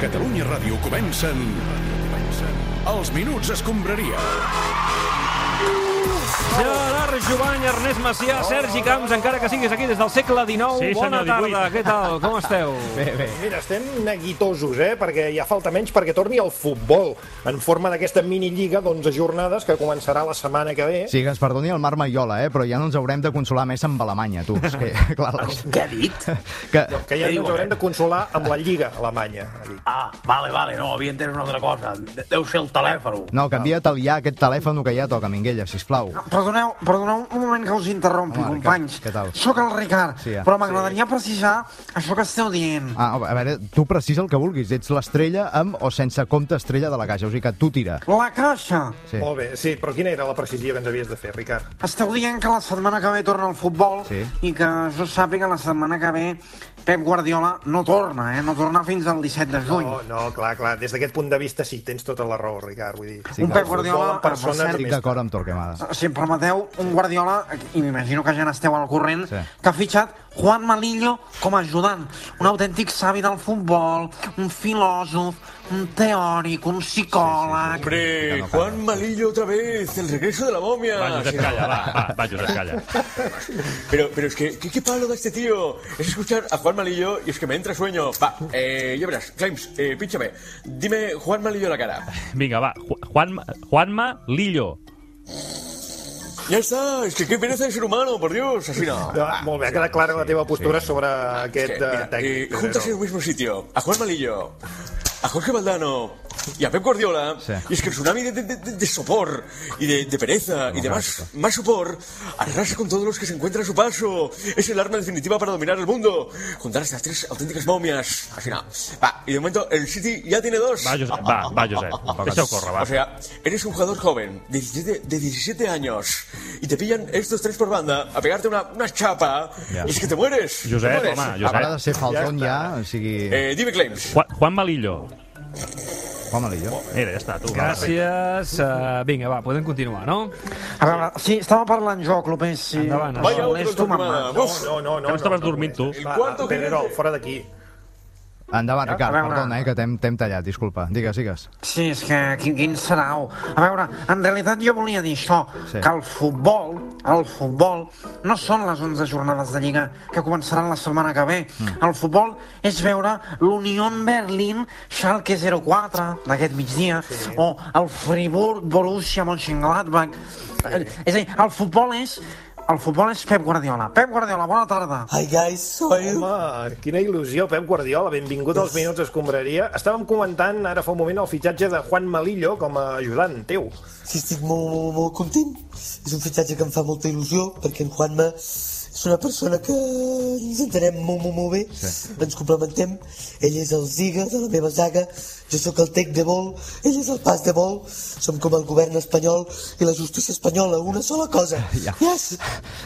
Catalunya Ràdio comencen... Els minuts escombraria. Gerard Jovany, Ernest Macià, Sergi Camps, encara que siguis aquí des del segle XIX. Sí, Bona senyor, tarda, què tal? Com esteu? Bé, bé. Mira, estem neguitosos, eh? Perquè ja falta menys perquè torni el futbol en forma d'aquesta minilliga d'11 jornades que començarà la setmana que ve. Sí, que ens perdoni el Marc Maiola, eh? però ja no ens haurem de consolar més amb Alemanya, tu. És que, clar, les... Què ha dit? que... Que ja ens haurem de consolar amb la Lliga Alemanya. ha dit. Ah, vale, vale, no, havia entès una altra cosa. De- Deu ser el telèfon. No, canvia't el ja aquest telèfon que ja toca, Minguella, sisplau. Perdoneu, perdoneu un moment que us interrompi, Home, Ricard, companys. què tal? Soc el Ricard, Sí, ja. però m'agradaria precisar això que esteu dient. Ah, a veure, tu precisa el que vulguis. Ets l'estrella amb o sense compte estrella de la caixa. O sigui que tu tira. La caixa. Sí. Molt bé, sí, però quina era la precisió que ens havies de fer, Ricard? Esteu dient que la setmana que ve torna el futbol Sí. i que jo sàpiga la setmana que ve Pep Guardiola no torna, eh? No torna fins al 17 de juny. No, no, clar, clar, des d'aquest punt de vista sí, tens tota la raó, Ricard, vull dir... Sí, un clar, Pep el Guardiola, futbol en persones per cert, Estic d'acord amb Torquemada. si em permeteu, un Guardiola, i m'imagino que ja n'esteu al corrent, Sí. que ha fitxat Juan Malillo com a ajudant. Un autèntic savi del futbol, un filòsof, un teòric, un psicòleg... Que no Hombre, acaba. Juan Malillo otra vez, el regreso de la momia. Va, Josep, calla, va, va, va, Josep, calla. Pero, pero es que, ¿qué, qué palo da este tío? Es escuchar a Juan Malillo y es que me entra sueño. Va, eh, ya verás, Claims, eh, pínchame. Dime Juan Malillo a la cara. Vinga, va, Ju- Juanma, Juanma Lillo. Ya está, es que qué pereza de ser humano, por Dios, así no. No, molt bé, ha quedat clara la teva postura sobre Es aquest que, eh, mira, eh, tècnic. juntas en el mismo sitio a Juan Malillo, a Jorge Valdano y a Pep Guardiola. Sí. Y es que el tsunami de, de- de- de sopor y de, de pereza y de más, más sopor arrasa con todos los que se encuentran a su paso. Es el arma definitiva para dominar el mundo. Juntar estas tres auténticas momias. Así no. Va, y de momento el City ya tiene dos. Va, Josep, va, va, Josep. Deixeu córrer, va. O sea, eres un jugador joven, de 17, de 17 años, y te pillan estos tres por banda a pegarte una, una chapa, Ya. y es que te mueres. te Josep, mueres. home, A part de Josep. ser falton ja, o sigui... Eh, dime claims. Juan, Juanma Lillo. Home, jo. Mira, ja està, tu. va. Gràcies. Uh, vinga, va, podem continuar, no? A veure, sí, estava parlant jo, Clopés, sí. Endavant, Em Vaya molesta, otro tornada. mamà. Uf. No, no, no. Que no estaves no, dormint, tu. El Va, cuarto que- Pedrerol, fora d'aquí. Endavant, Ricard, veure. perdona, eh, que t'hem t'hem tallat, disculpa. Digues, digues. Sí, és que quin, quin sarau. A veure, en realitat jo volia dir això, Sí. sí. que el futbol, el futbol, no són les 11 jornades de Lliga que començaran la setmana que ve. Mm. El futbol és veure l'Union Berlín Schalke 04 d'aquest migdia, sí. o el Friburg Borussia Mönchengladbach. Sí. És a dir, el futbol és... El futbol és Pep Guardiola. Pep Guardiola, bona tarda. Hi guys, soy... Home, quina il·lusió, Pep Guardiola, benvingut als Minuts Escombraria. Estàvem comentant ara fa un moment el fitxatge de Juan Malillo com a ajudant teu. Sí, estic molt, molt, molt content. És un fitxatge que em fa molta il·lusió, perquè en Juanma és una persona que ens entenem molt, molt, molt bé. Sí. Ens complementem. Ell és el Ziga de la meva zaga, jo sóc el Tec de Vol, ell és el Pas de Vol. Som com el govern espanyol i la justícia espanyola, una sola cosa. Ja. Yes!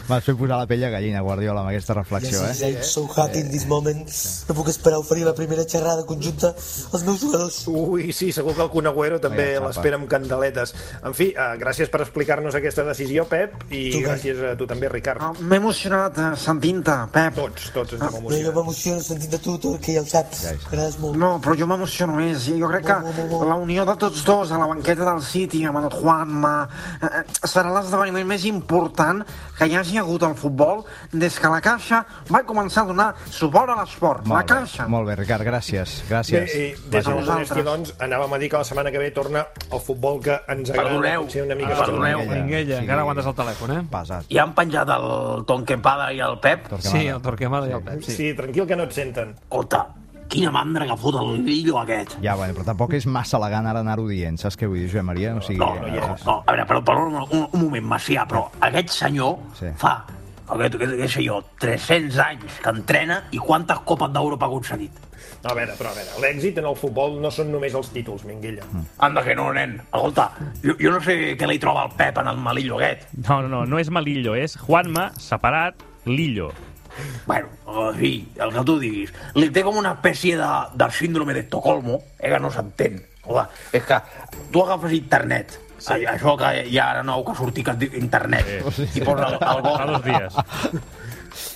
M'has fet posar la pell de gallina, Guardiola, amb aquesta reflexió, yes, eh? yes, I'm so happy in this moment. No puc esperar a oferir la primera xerrada conjunta als meus jugadors. Ui, sí, segur que el Cunagüero també Vaja, xapa. l'espera amb candeletes. En fi, eh, gràcies per explicar-nos aquesta decisió, Pep, i Tu, gràcies a tu també, Ricard. Ah, M'he emocionat eh, sentint-te, Pep. Tots, tots ens hem No, Ah, jo emocionat. m'emociono sentint de tu, que ja ho saps. Ja hi som. M'agrades molt. No, però jo m'emociono més. Jo crec Bo, bo, que bo, bo. la unió de tots dos a la banqueta del City amb el Juanma eh, eh, serà l'esdeveniment més important que hi hagi hagut al futbol des que la Caixa va començar a donar suport a l'esport. La Molt bé, Caixa. molt bé, Ricard, gràcies. Bé, Gràcies. i des de Vaja. la Modestia, doncs, anàvem a dir que la setmana que ve torna el futbol que ens agrada. Perdoneu. potser una mica Ah, més perdoneu. tranquil. Minguella, sí. encara aguantes el telèfon, eh? Pesat. I han penjat el Tonquempada i el Pep. Sí, el Torquemada i el Pep, sí. Sí, tranquil, que no et senten. Escolta, quina mandra que fot el Lillo aquest. Ja, bueno, però tampoc és massa elegant ara anar-ho dient, saps què vull dir, Joan Maria? O sigui, No, no, no, no. A veure, però, però un, un, un moment, Macià, però aquest senyor Sí. sí. fa aquest, aquest, què sé jo, 300 anys que entrena i quantes copes d'Europa ha aconseguit. No, a veure, però a veure, l'èxit en el futbol no són només els títols, Minguella. Anda que no, nen. Escolta, jo, jo no sé què li troba el Pep en el malillo eh? aquest. No, no, no, no és Malillo, és Juanma, separat, Lillo. Bueno, o sí, el que tu diguis. Li té com una espècie de, de síndrome d'Estocolmo, eh, que no s'entén. Hola, és que tu agafes internet, sí. això que hi ha ara nou que ha sortit que es diu internet, sí. i posa el, el Fa dos gol. dies.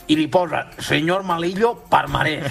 i li posa senyor Malillo palmarès.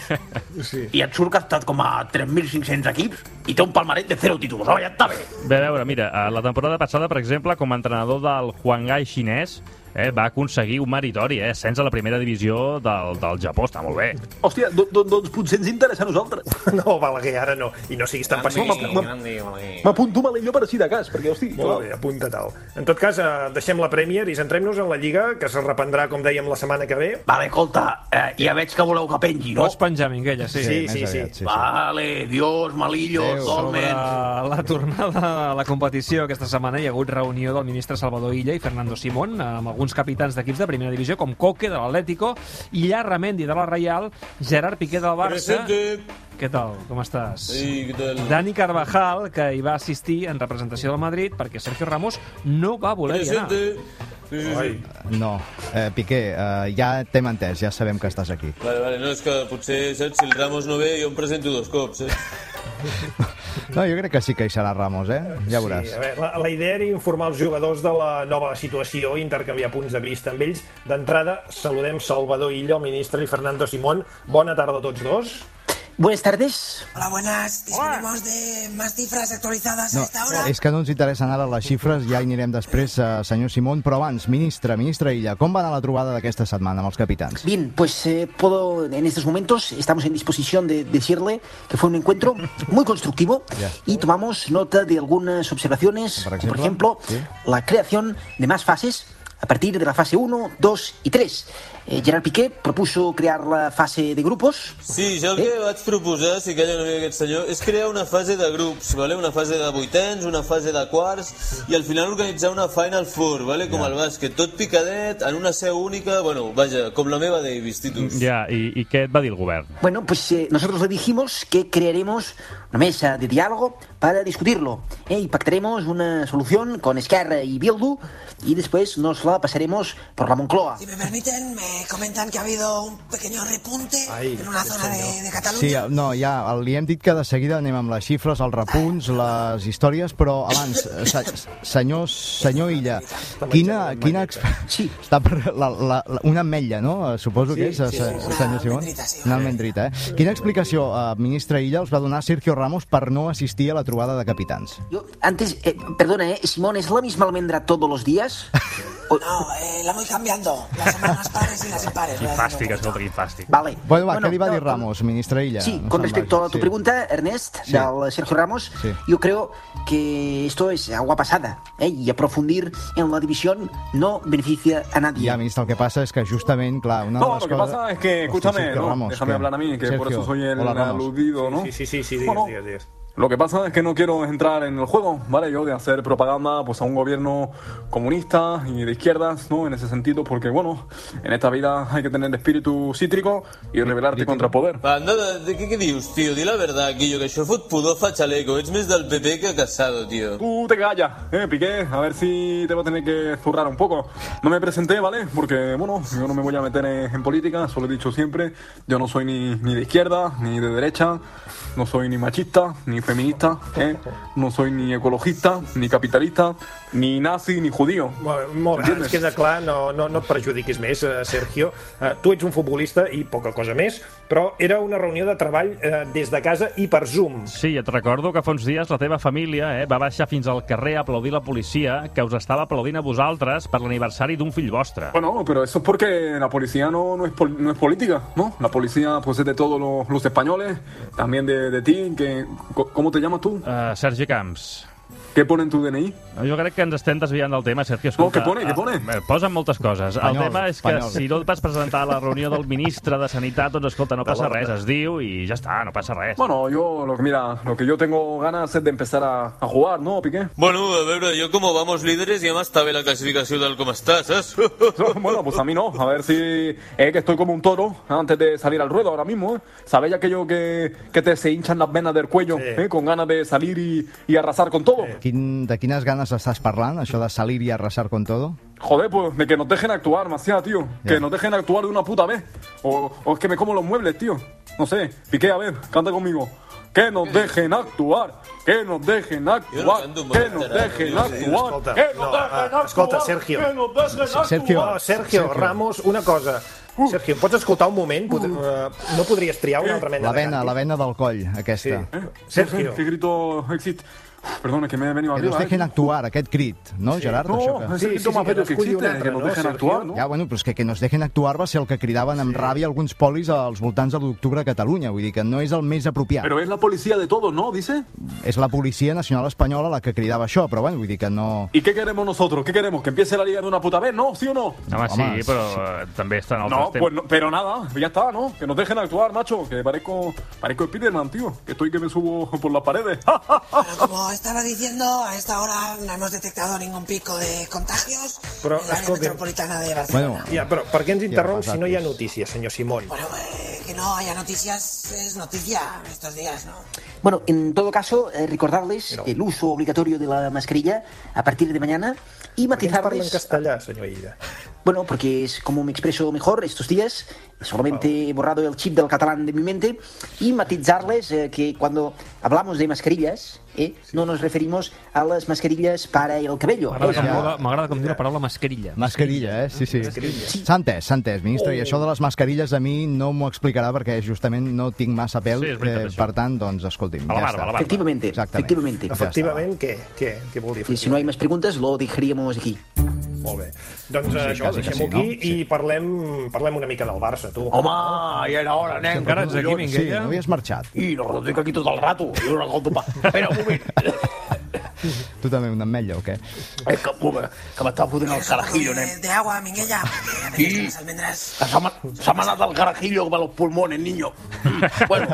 Sí. I et surt que ha estat com a 3.500 equips i té un palmarès de 0 títols. Home, ja està bé. Bé, a veure, mira, eh, la temporada passada, per exemple, com a entrenador del Huangai xinès, eh, va aconseguir un meritori, eh, ascens a la primera divisió del, del Japó, està molt bé. Hòstia, do, do, doncs potser ens interessa a nosaltres. No, Balaguer, ara no. I no siguis tan pessimista. M'apunto Malillo per així de cas, perquè, hosti... Molt bé, apunta tal. En tot cas, eh, deixem la Premier i centrem-nos en la Lliga, que se reprendrà, com dèiem, la setmana que ve. Vale, escolta, eh, ja veig que voleu que pengi, no? Pots penjar Minguella, sí. Sí, més sí, sí. aviat, sí, sí. Vale, Dios, Malillo, Adéu, Sobre Dolmen... la tornada a la competició aquesta setmana hi ha hagut reunió del ministre Salvador Illa i Fernando Simón amb alguns capitans d'equips de primera divisió com Coque de l'Atlético, Illar Ramendi de la Reial, Gerard Piqué del Barça... Què tal? Com estàs? Sí, què tal? Dani Carvajal, que hi va assistir en representació del Madrid perquè Sergio Ramos no va voler hi anar. Ai. No, eh, Piqué, eh, ja t'hem entès, ja sabem que estàs aquí. Vale, vale, no, és que potser, saps, si el Ramos no ve, jo em presento dos cops, eh? No, jo crec que sí que hi serà Ramos, eh? Ja veuràs. Sí, a veure, la, la idea era informar els jugadors de la nova situació i intercanviar punts de vista amb ells. D'entrada, saludem Salvador Illa, el ministre, i Fernando Simón. Bona tarda a tots dos. Buenas tardes. Hola, buenas. Disponemos de más cifras actualizadas No, a esta hora. és que no ens interessen ara les xifres, ja hi anirem després, eh, senyor Simón, però abans, ministre, ministre Illa, com va anar la trobada d'aquesta setmana amb els capitans? Bien, pues eh, puedo, en estos momentos estamos en disposición de decirle que fue un encuentro muy constructivo Ya. y tomamos nota de algunas observaciones, Por como por ejemplo, ejemplo, sí. la creación de más fases a partir de la fase 1, 2 y 3. Eh, Gerard Piqué propuso crear la fase de grupos, Sí, jo el que vaig proposar, si calla una mica aquest senyor, és crear una fase de grups, vale? una fase de vuitens, una fase de quarts, i al final organitzar una Final Four, vale? com el bàsquet, tot picadet, en una seu única, bueno, vaja, com la meva Davis, Titus. Ja, i, i què et va dir el govern? Bueno, pues eh, nosotros le dijimos que crearemos una mesa de diálogo para discutirlo ¿eh? y pactaremos una solución con Esquerra y Bildu y después nos la pasaremos por la Moncloa. Si me permiten, me comentan que ha habido un pequeño repunte en una zona de, de Cataluña. Sí, eh, no, ja, li hem dit que de seguida anem amb les xifres, els repunts, les històries, però abans, eh, se, senyor, senyor Illa, quina... quina ex... Sí. Està per la, la, la, una ametlla, no? Eh, Suposo que és, eh, se- sí, sí. senyor Simón? Una almendrita, sí. Una almendrita, eh? Quina explicació, eh, ministre Illa, els va donar Sergio Ramos per no assistir a la trobada de capitans? Yo, antes, eh, perdona, ¿eh? Simón, ¿es la misma almendra todos los días? O- No, eh, la voy cambiando. Las semanas pares y las impares. voy haciendo Fàstic, un poquito. escolta, quin fàstic. Vale. Bueno, va, què li va no, dir Ramos, ministre Illa? Sí, No con se'n respecto a vagi, tu sí. pregunta, Ernest, Sí. del Sergio Ramos, Sí. yo creo que esto es agua pasada ¿eh? y aprofundir en la división no beneficia a nadie. Ya, ministro, lo que pasa es que justamente, claro, una de No, las lo que cosas- pasa es que, Hostia, escúchame, Sergio ¿no? Ramos, déjame que- hablar a mí, que por Sergio, eso soy el hola, Ramos. aludido, ¿no? Sí, sí, sí, sí digues, Bueno, digues, digues. Lo que pasa es que no quiero entrar en el juego, ¿vale? Yo de hacer propaganda pues, a un gobierno comunista y de izquierdas, ¿no? En ese sentido, porque, bueno, en esta vida hay que tener espíritu cítrico y rebelarte contra el poder. Va, anda, de, de, què, què dius, tio? Di la verdad, Guillo, que això fot pudor fa chaleco. Ets més del PP que Casado, tio. Tú te callas, eh, Piqué, a ver si te va a tener que zurrar un poco. No me presenté, ¿vale? Porque, bueno, yo no me voy a meter en, en política, eso lo he dicho siempre. Yo no soy ni, ni de izquierda, ni de derecha, no soy ni machista, ni feminista, ¿eh? No soy ni ecologista, ni capitalista, ni nazi, ni judío. Molt bé, Molt bé, ens queda clar, no, no, no et perjudiquis més, eh, Sergio. Eh, Tu ets un futbolista i poca cosa més, però era una reunió de treball eh, des de casa i per Zoom. Sí, et recordo que fa uns dies la teva família eh, va baixar fins al carrer a aplaudir la policia que us estava aplaudint a vosaltres per l'aniversari d'un fill vostre. Bueno, pero eso es porque la policía no, no, es, pol- no es política, ¿no? La policía pues es de todos los, los españoles, también de, de ti, que, co- ¿cómo te llamas tú? Uh, Sergi Camps, ¿Qué pone en tu DNI? jo crec que ens estem desviant del tema, Sergio. Oh, No, Escolta, què pone, què eh, pone? eh, Posen moltes coses. Espanyol, el tema és que espanyol. si no et vas presentar a la reunió del ministre de Sanitat, doncs escolta, no passa res, es diu i ja està, no passa res. Bueno, yo, lo que, mira, lo que yo tengo ganas es de empezar a, a jugar, ¿no, Piqué? Bueno, a veure, jo com vamos líderes i además està bé la classificació del com està, saps? Bueno, pues a mí no, a ver si es que estoy como un toro antes de salir al ruedo ahora mismo. ¿eh? ¿Sabéis aquello que, que te se hinchan las venas del cuello ¿eh? con ganas de salir y, y arrasar con todo? Quin, de quines ganes estàs parlant, això de salir i arrasar con todo? Joder, pues de que nos dejen actuar, Maciá, tío. Ya. Que nos dejen actuar de una puta vez. O, o es que me como los muebles, tío. No sé, Piqué, a ver, canta conmigo. Que nos dejen actuar, que nos dejen Yo no actuar, canto un que buen nos carajo, dejen yo sí, actuar, escolta, que no, nos ah, dejen actuar, escolta, Sergio. que nos dejen actuar. Sergio. Oh, Sergio, Sergio. Ramos, una cosa. Sergio, pots escoltar un moment? Pod- eh, No podries triar una altra mena La de vena, la vena del coll, aquesta. Sí. Eh? Sergio. ¿Qué grito existe? Uf, Perdona, que me he venido Que nos arriba. ¿eh? dejen actuar, aquest crit, no, Gerard? No, Això que... es el grito más bello que existe, que nos dejen actuar, ¿no? Ja, bueno, però és que que nos dejen actuar va ser el que cridaven amb ràbia alguns polis als voltants de l'octubre a Catalunya. Vull dir que no és el més apropiat. Pero es la policía de todos, ¿no? Dice. És la Policia Nacional Espanyola la que cridava això, però bueno, vull dir que no... ¿Y qué queremos nosotros? ¿Qué queremos? ¿Que empiece la liga de una puta vez? ¿No? ¿Sí o no? Home, sí, però eh, també estan altres No, temps. pues no, pero nada, ya está, ¿no? Que nos dejen actuar, macho, que parezco, parezco Spiderman, tío, que estoy que me subo por las paredes. ¡Ja! Como estaba diciendo, a esta hora no hemos detectado ningún pico de contagios Però, en la área escolti- metropolitana de Barcelona. Bueno, ja, però per què ens interromp Ja, si no hi ha notícies, senyor Simón? Eh, Que no haya noticias es noticia estos días, ¿no? Bueno, en todo caso, eh, recordarles el uso obligatorio de la mascarilla a partir de mañana y Per què ens parla en matizarles. castellà, senyor Illa? Bueno, porque es como me expreso mejor estos días, solamente he borrado el chip del catalán de mi mente y matizarles eh, que cuando hablamos de mascarillas, eh, no nos referimos a las mascarillas para el cabello. M'agrada eh, com, mola- m'agrada com diu la paraula mascarilla. Mascarilla, eh? Sí, sí. S'ha entès, s'ha entès, ministre. I això de les mascarilles a mi no m'ho explicarà perquè justament no tinc massa pèl. Sí, és veritat, això. per tant, doncs, escolti'm, ja està. Efectivamente, efectivamente. Efectivamente, ¿qué, qué, qué Y si no hay más preguntas, lo dejaríamos aquí. Molt bé. Doncs sí, això, quasi que sí, deixem-ho aquí no? i parlem, parlem una mica del Barça, tu. Home, ja era hora, nen. Encara ets aquí, Collons. Sí, no havies marxat. I no, lo tinc aquí tot el rato. Jo no recordo pas. Espera un moment. Tu també una ametlla o què? Eh, que, que, que m'estava fotent el carajillo, nen. Eh, De agua, Minguella. porque a veces Sí. las almendras. Que se m'ha- se m'ha anat el carajillo a los pulmones, niño. Bueno,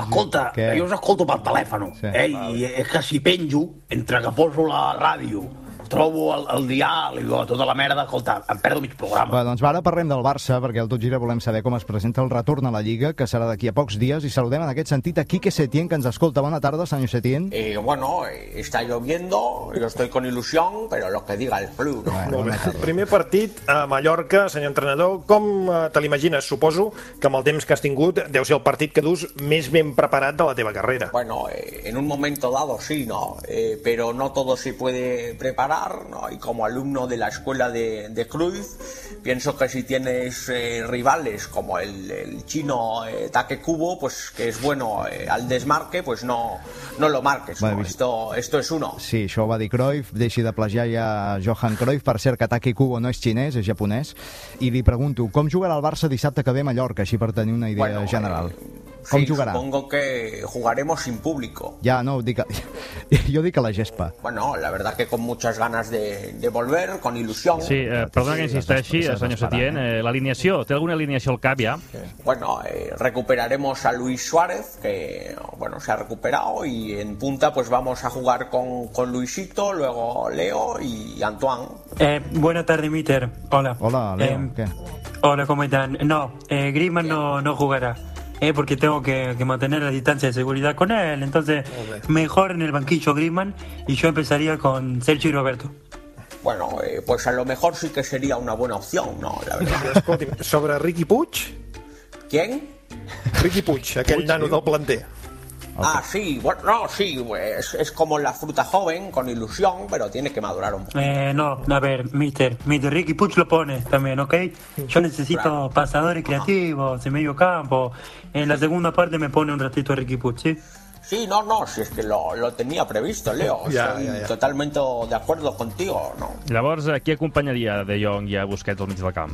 escolta, Què? jo us escolto pel telèfon. Sí. eh, I és que si penjo, entre que poso la ràdio, trobo el, el dial i tota la merda, escolta, em perdo mig programa. Va, doncs ara parlem del Barça, perquè al Tot Gira volem saber com es presenta el retorn a la Lliga, que serà d'aquí a pocs dies, i saludem en aquest sentit a Quique Setién, que ens escolta. Bona tarda, senyor Setién. Eh, bueno, eh, está lloviendo, yo estoy con ilusión, pero lo que diga el club. ¿no? Molt bé. Primer partit a Mallorca, senyor entrenador, com eh, te l'imagines? Suposo que amb el temps que has tingut deu ser el partit que dus més ben preparat de la teva carrera. Bueno, eh, en un momento dado sí, ¿no? Eh, pero no todo se puede preparar, ¿no? Y como alumno de la escuela de, de Cruyff, pienso que si tienes eh, rivales como el, el chino eh, Take Kubo, pues que es bueno eh, al desmarque, pues no, no lo marques. Vale, ¿no? vist- Esto, esto es uno. Sí, això ho va dir Cruyff, deixi de plagiar ja Johan Cruyff, per cert que Taki Kubo no és xinès, és japonès, i li pregunto, com jugarà el Barça dissabte que ve a Mallorca, així per tenir una idea Bueno, eh, general? com Sí, jugarà? Supongo que jugaremos sin público. Ja, no, dic a... jo dic a la gespa. Bueno, la verdad que con muchas ganas de, de volver, con ilusión. Sí, eh, perdona que insisteixi, eh, senyor Setién, eh, l'alineació, té alguna alineació al cap ja? Bueno, eh, recuperaremos a Luis Suárez, que bueno, se ha recuperado, y en punta pues vamos a jugar con, con Luisito, luego Leo y Antoine. Eh, buena tarde, Mister. Hola. Hola, Leo. Eh, ¿Qué? Hola, ¿cómo están? No, eh, Griezmann no, no jugará. Eh, porque tengo que, que mantener la distancia de seguridad con él. Entonces, mejor en el banquillo Griezmann y yo empezaría con Sergio y Roberto. Bueno, eh, pues a lo mejor sí que sería una buena opción, ¿no? La verdad. Escolti'm, sobre Ricky Puig, ¿Quién? Ricky Puig, aquell nano del planter. Ah, sí, bueno, no, sí, es, es como la fruta joven, con ilusión, pero tiene que madurar un poco. Eh, no, a ver, Mister. Mister Ricky Puch lo pone también, ¿ok? Yo necesito pasadores creativos en medio campo. En la segunda parte me pone un ratito a Ricky Puch, ¿sí? Sí, no, no, si es que lo, lo tenía previsto, Leo. Ya, Estoy ya, ya. totalmente de acuerdo contigo, ¿no? Llavors, eh, qui acompanyaria De Jong i a Busquets al mig del camp?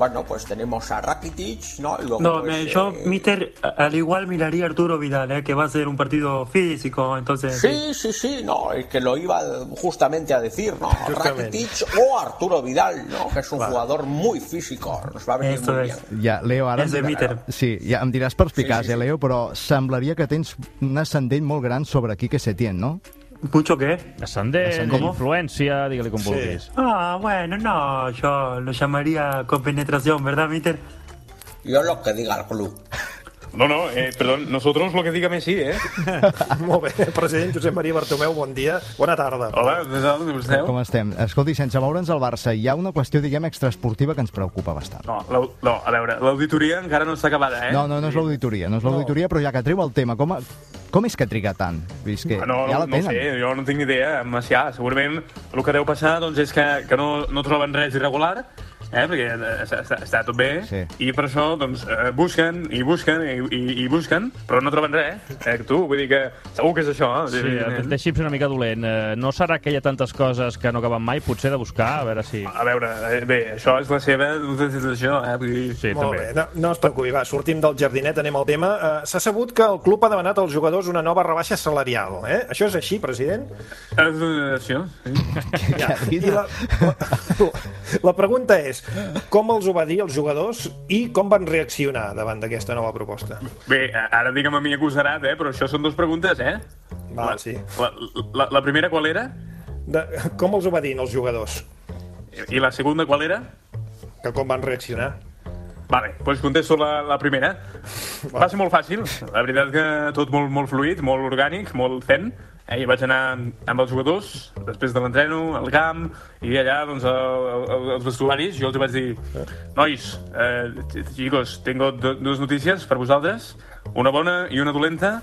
Bueno, pues tenemos a Rakitic, ¿no? Y luego, No, pues, me- yo, eh, Mister, a- al igual miraría a Arturo Vidal, eh, que va a ser un partido físico, entonces... Sí, sí, sí, no, es que lo iba justamente a decir, ¿no? Justamente. Rakitic o Arturo Vidal, ¿no? Que es un jugador muy físico, nos va a venir muy bien. Ja, Leo, ara... És em de dirà- míter. Sí, ja em diràs per explicar, sí, sí, sí. eh, Leo, però semblaria que tens un ascendent molt gran sobre Quique Setién, no? Mucho què? Ascendent, Ascendent. influència, digue-li com Sí. vulguis. Ah, bueno, no, yo lo llamaría compenetración, ¿verdad, Mister? Yo lo que diga el club. No, no, eh, perdón, nosotros lo que diga Messi, ¿eh? Molt bé, president Josep Maria Bartomeu, bon dia. Bona tarda. Com, com estem? Escolti, sense moure'ns al Barça, hi ha una qüestió, diguem, extraesportiva que ens preocupa bastant. No, l'au- no, a veure, l'auditoria encara no està acabada, eh? No, no, no és l'auditoria, no és l'auditoria, però ja que treu el tema, com, a... com és que triga tant? Vull dir, és que Ah, No, ja no, la no ho tenen. sé, jo no tinc ah, ni idea, Macià. Segurament el que deu passar doncs, és que, que no, no troben res irregular eh? perquè eh, està, està, està tot bé, Sí. i per això doncs, eh, busquen i busquen i, i, i busquen, però no troben res. Eh, tu, vull dir que segur que és això. Eh? Ah, Sí, evidentment. té xips una mica dolent. Eh, No serà que hi ha tantes coses que no acaben mai, potser de buscar, a veure si... A veure, eh, bé, això és la seva decisió, eh? Vull dir... Sí, Molt també. bé, no, no es preocupi, va, sortim del jardinet, anem al tema. Eh, S'ha sabut que el club ha demanat als jugadors una nova rebaixa salarial, eh? Això és així, president? És això, sí. Ja. I la, la, la pregunta és, com els ho va dir els jugadors i com van reaccionar davant d'aquesta nova proposta? Bé, a- ara digue'm a mi acusarat, eh? Però això són dues preguntes, eh? Va, sí. La, la, la primera qual era? De, com els ho va dir els jugadors? I la segunda qual era? Que com van reaccionar? Vale, doncs contesto la, la primera. Va ser molt fàcil, la veritat que tot molt, molt fluid, molt orgànic, molt zen. Eh, i vaig anar amb- amb els jugadors, després de l'entreno, al camp, i allà, doncs, el, el, els vestuaris, jo els vaig Ah. dir Nois, eh, ch- chicos, tengo do, dues notícies per vosaltres, una bona i una dolenta,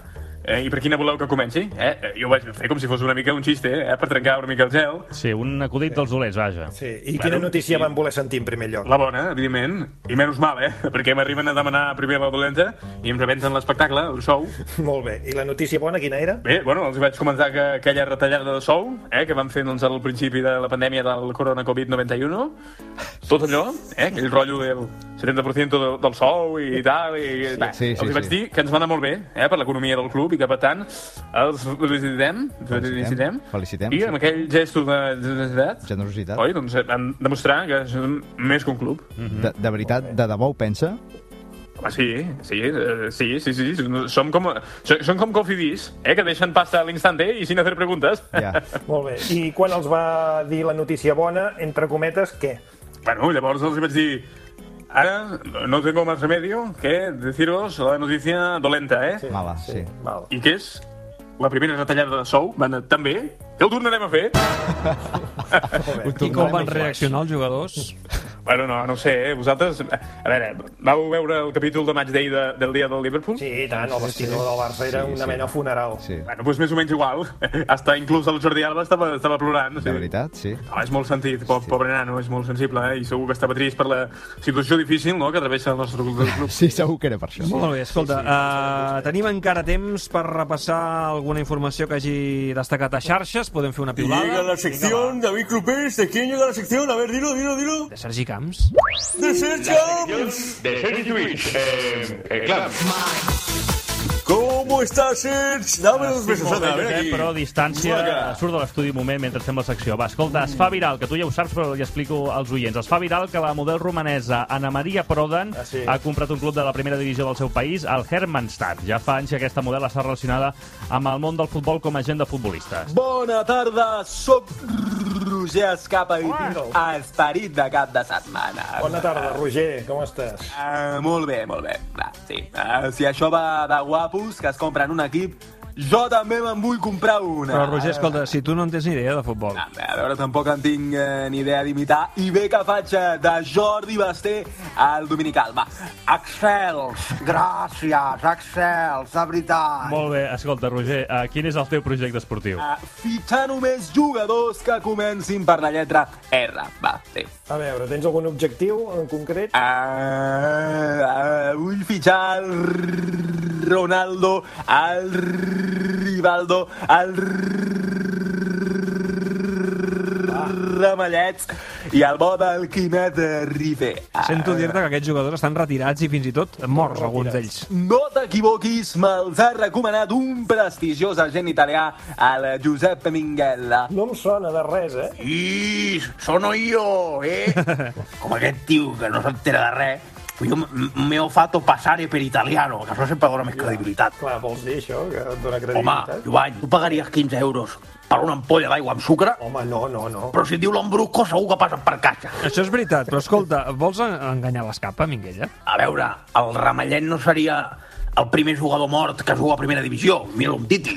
eh, i per quina voleu que comenci? Eh, eh, jo ho vaig fer com si fos una mica un xiste, eh, per trencar una mica el gel. Sí, un acudit dels dolents, vaja. Sí, I quina notícia van voler sentir en primer lloc? La bona, evidentment, i menys mal, eh? Perquè m'arriben a demanar primer la dolenta i em rebenten l'espectacle, el show. Molt bé, i la notícia bona quina era? Bé, bueno, els vaig comentar que aquella retallada de sou, eh, que van fer doncs, al principi de la pandèmia del corona Covid-91, tot allò, eh, aquell rotllo del 70% de, del sou i tal, i sí, sí, sí, els vaig sí. dir que ens va anar molt bé eh, per l'economia del club i que, per tant, els felicitem, felicitem, Felicitem. i amb aquell gesto de generositat, Generositat. oi, doncs van demostrar que som més que un club. De, de veritat, de debò ho pensa? Home, sí, sí, eh, sí, sí, sí, som com, so- són com cofidis, eh, que deixen pasta a l'instante i sin hacer preguntes. Ja. Molt bé, i quan els va dir la notícia bona, entre cometes, què? bueno, llavors els vaig dir, ara no tengo más remedio que deciros la notícia dolenta, eh? Sí, Mala, sí. Val. I que és? La primera retallada de sou va anar tan bé que ho tornarem a fer. I com van reaccionar els jugadors? Bueno, no, no ho sé, eh? vosaltres... A veure, vau veure el capítol de Match Day de, del dia del Liverpool? Sí, i tant, el vestidor del Barça era una mena de funeral. Sí. Bueno, doncs més o menys igual. Hasta inclús el Jordi Alba estava, estava plorant. De veritat, sí. No, Ah, és molt sentit, po pobre nano, és molt sensible, eh? i segur que estava trist per la situació difícil no? que travessa el nostre club. Sí, segur que era per això. Molt bé, escolta, eh, tenim encara temps per repassar alguna informació que hagi destacat a xarxes, podem fer una Llega piulada. la sección, David Clupés, ¿de quién llega la sección? A ver, dilo, dilo, dilo. De Sergi Camps. ¡De Sergio! De Sergi Lluís, eh, eh, clar. ¿Cómo estás, eh? Sergio? Dame dos besos, molt bé, anda, a ver Josep, aquí. però a distància Vinga. surt de l'estudi un moment mentre fem la secció. Va, escolta, es fa viral, que tu ja ho saps, però li explico als oients. Es fa viral que la model romanesa Anna Maria Prodan Ah, sí. ha comprat un club de la primera divisió del seu país, el Hermannstadt. Ja fa anys que aquesta model està relacionada amb el món del futbol com a agent de futbolistes. Bona tarda, sóc Roger Escapa i tinc esperit de cap de setmana. Bona tarda, Roger, com estàs? Uh, molt bé, molt bé. Va, sí. Uh, si això va de guapos que es compren un equip, jo també me'n vull comprar una. Però, Roger, escolta, si tu no en tens ni idea de futbol... Ah, A veure, tampoc en tinc eh, ni idea d'imitar. I bé que faig eh, de Jordi Basté al Dominical. Va, excels, gràcies, excels, de veritat. Molt bé, escolta, Roger, eh, quin és el teu projecte esportiu? Fitxar eh, només jugadors que comencin per la lletra R. Va, sí. A veure, tens algun objectiu en concret? Ah, ah, vull fitxar el Ronaldo, el Rivaldo, el Ramallets i el bo del Quimet eh, Rifé. Sento dir-te que aquests jugadors estan retirats i fins i tot morts, alguns d'ells. No t'equivoquis, me'ls ha recomanat un prestigiós agent italià, el Giuseppe Minghella. No em sona de res, eh? I sono io, eh? Com aquest tio que no s'entera de res. Jo m- m- m'he fatto passare per italiano, que això sempre dona més credibilitat. Clar, vols dir això, que et dona Home, credibilitat? Joan, tu pagaries 15 euros per una ampolla d'aigua amb sucre? Home, no, no, no. Però si et diu l'ombrusco, segur que passen per caixa. Això és veritat, però escolta, vols en- enganyar l'escapa, Minguella? A veure, el ramellet no seria el primer jugador mort que juga a primera divisió, Mira Umtiti.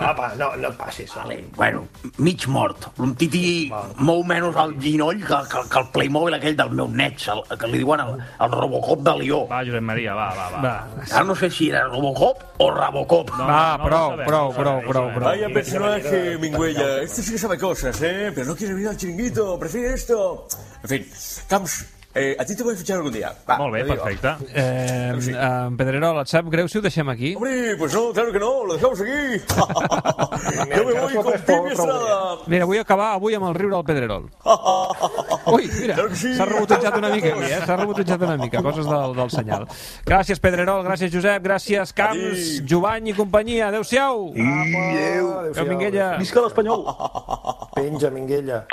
Apa, no, no et passis. Vale. bueno, mig mort. L'Umtiti mou menys el ginoll que, que, que el Playmobil aquell del meu net, el, que li diuen el, el Robocop de Lió. Va, Josep Maria, va, va, va. va. Ara no sé si era Robocop o Rabocop. Va, Ah, Ah, prou, prou, prou, prou, prou. Vaya personaje, Mingüella. Este sí que sabe cosas, ¿eh? Pero no quiere venir al chiringuito, prefiere esto. En fin, Camps, eh, a ti te voy a fichar algún día. Va, Molt bé, te digo. perfecte. Eh, eh, Pedrerol, et sap greu si ho deixem aquí? Hombre, pues no, claro que no, lo dejamos aquí. Yo me voy con Pipi Estrada. Mira, vull acabar avui amb el riure del Pedrerol. Ui, mira, s'ha rebotejat una mica aquí, eh? S'ha rebotejat una mica, coses del, del senyal. Gràcies, Pedrerol, gràcies, Josep, gràcies, Camps, Jovany i companyia. Adéu-siau! Adéu-siau, Minguella. Visca l'Espanyol! Penja, Minguella.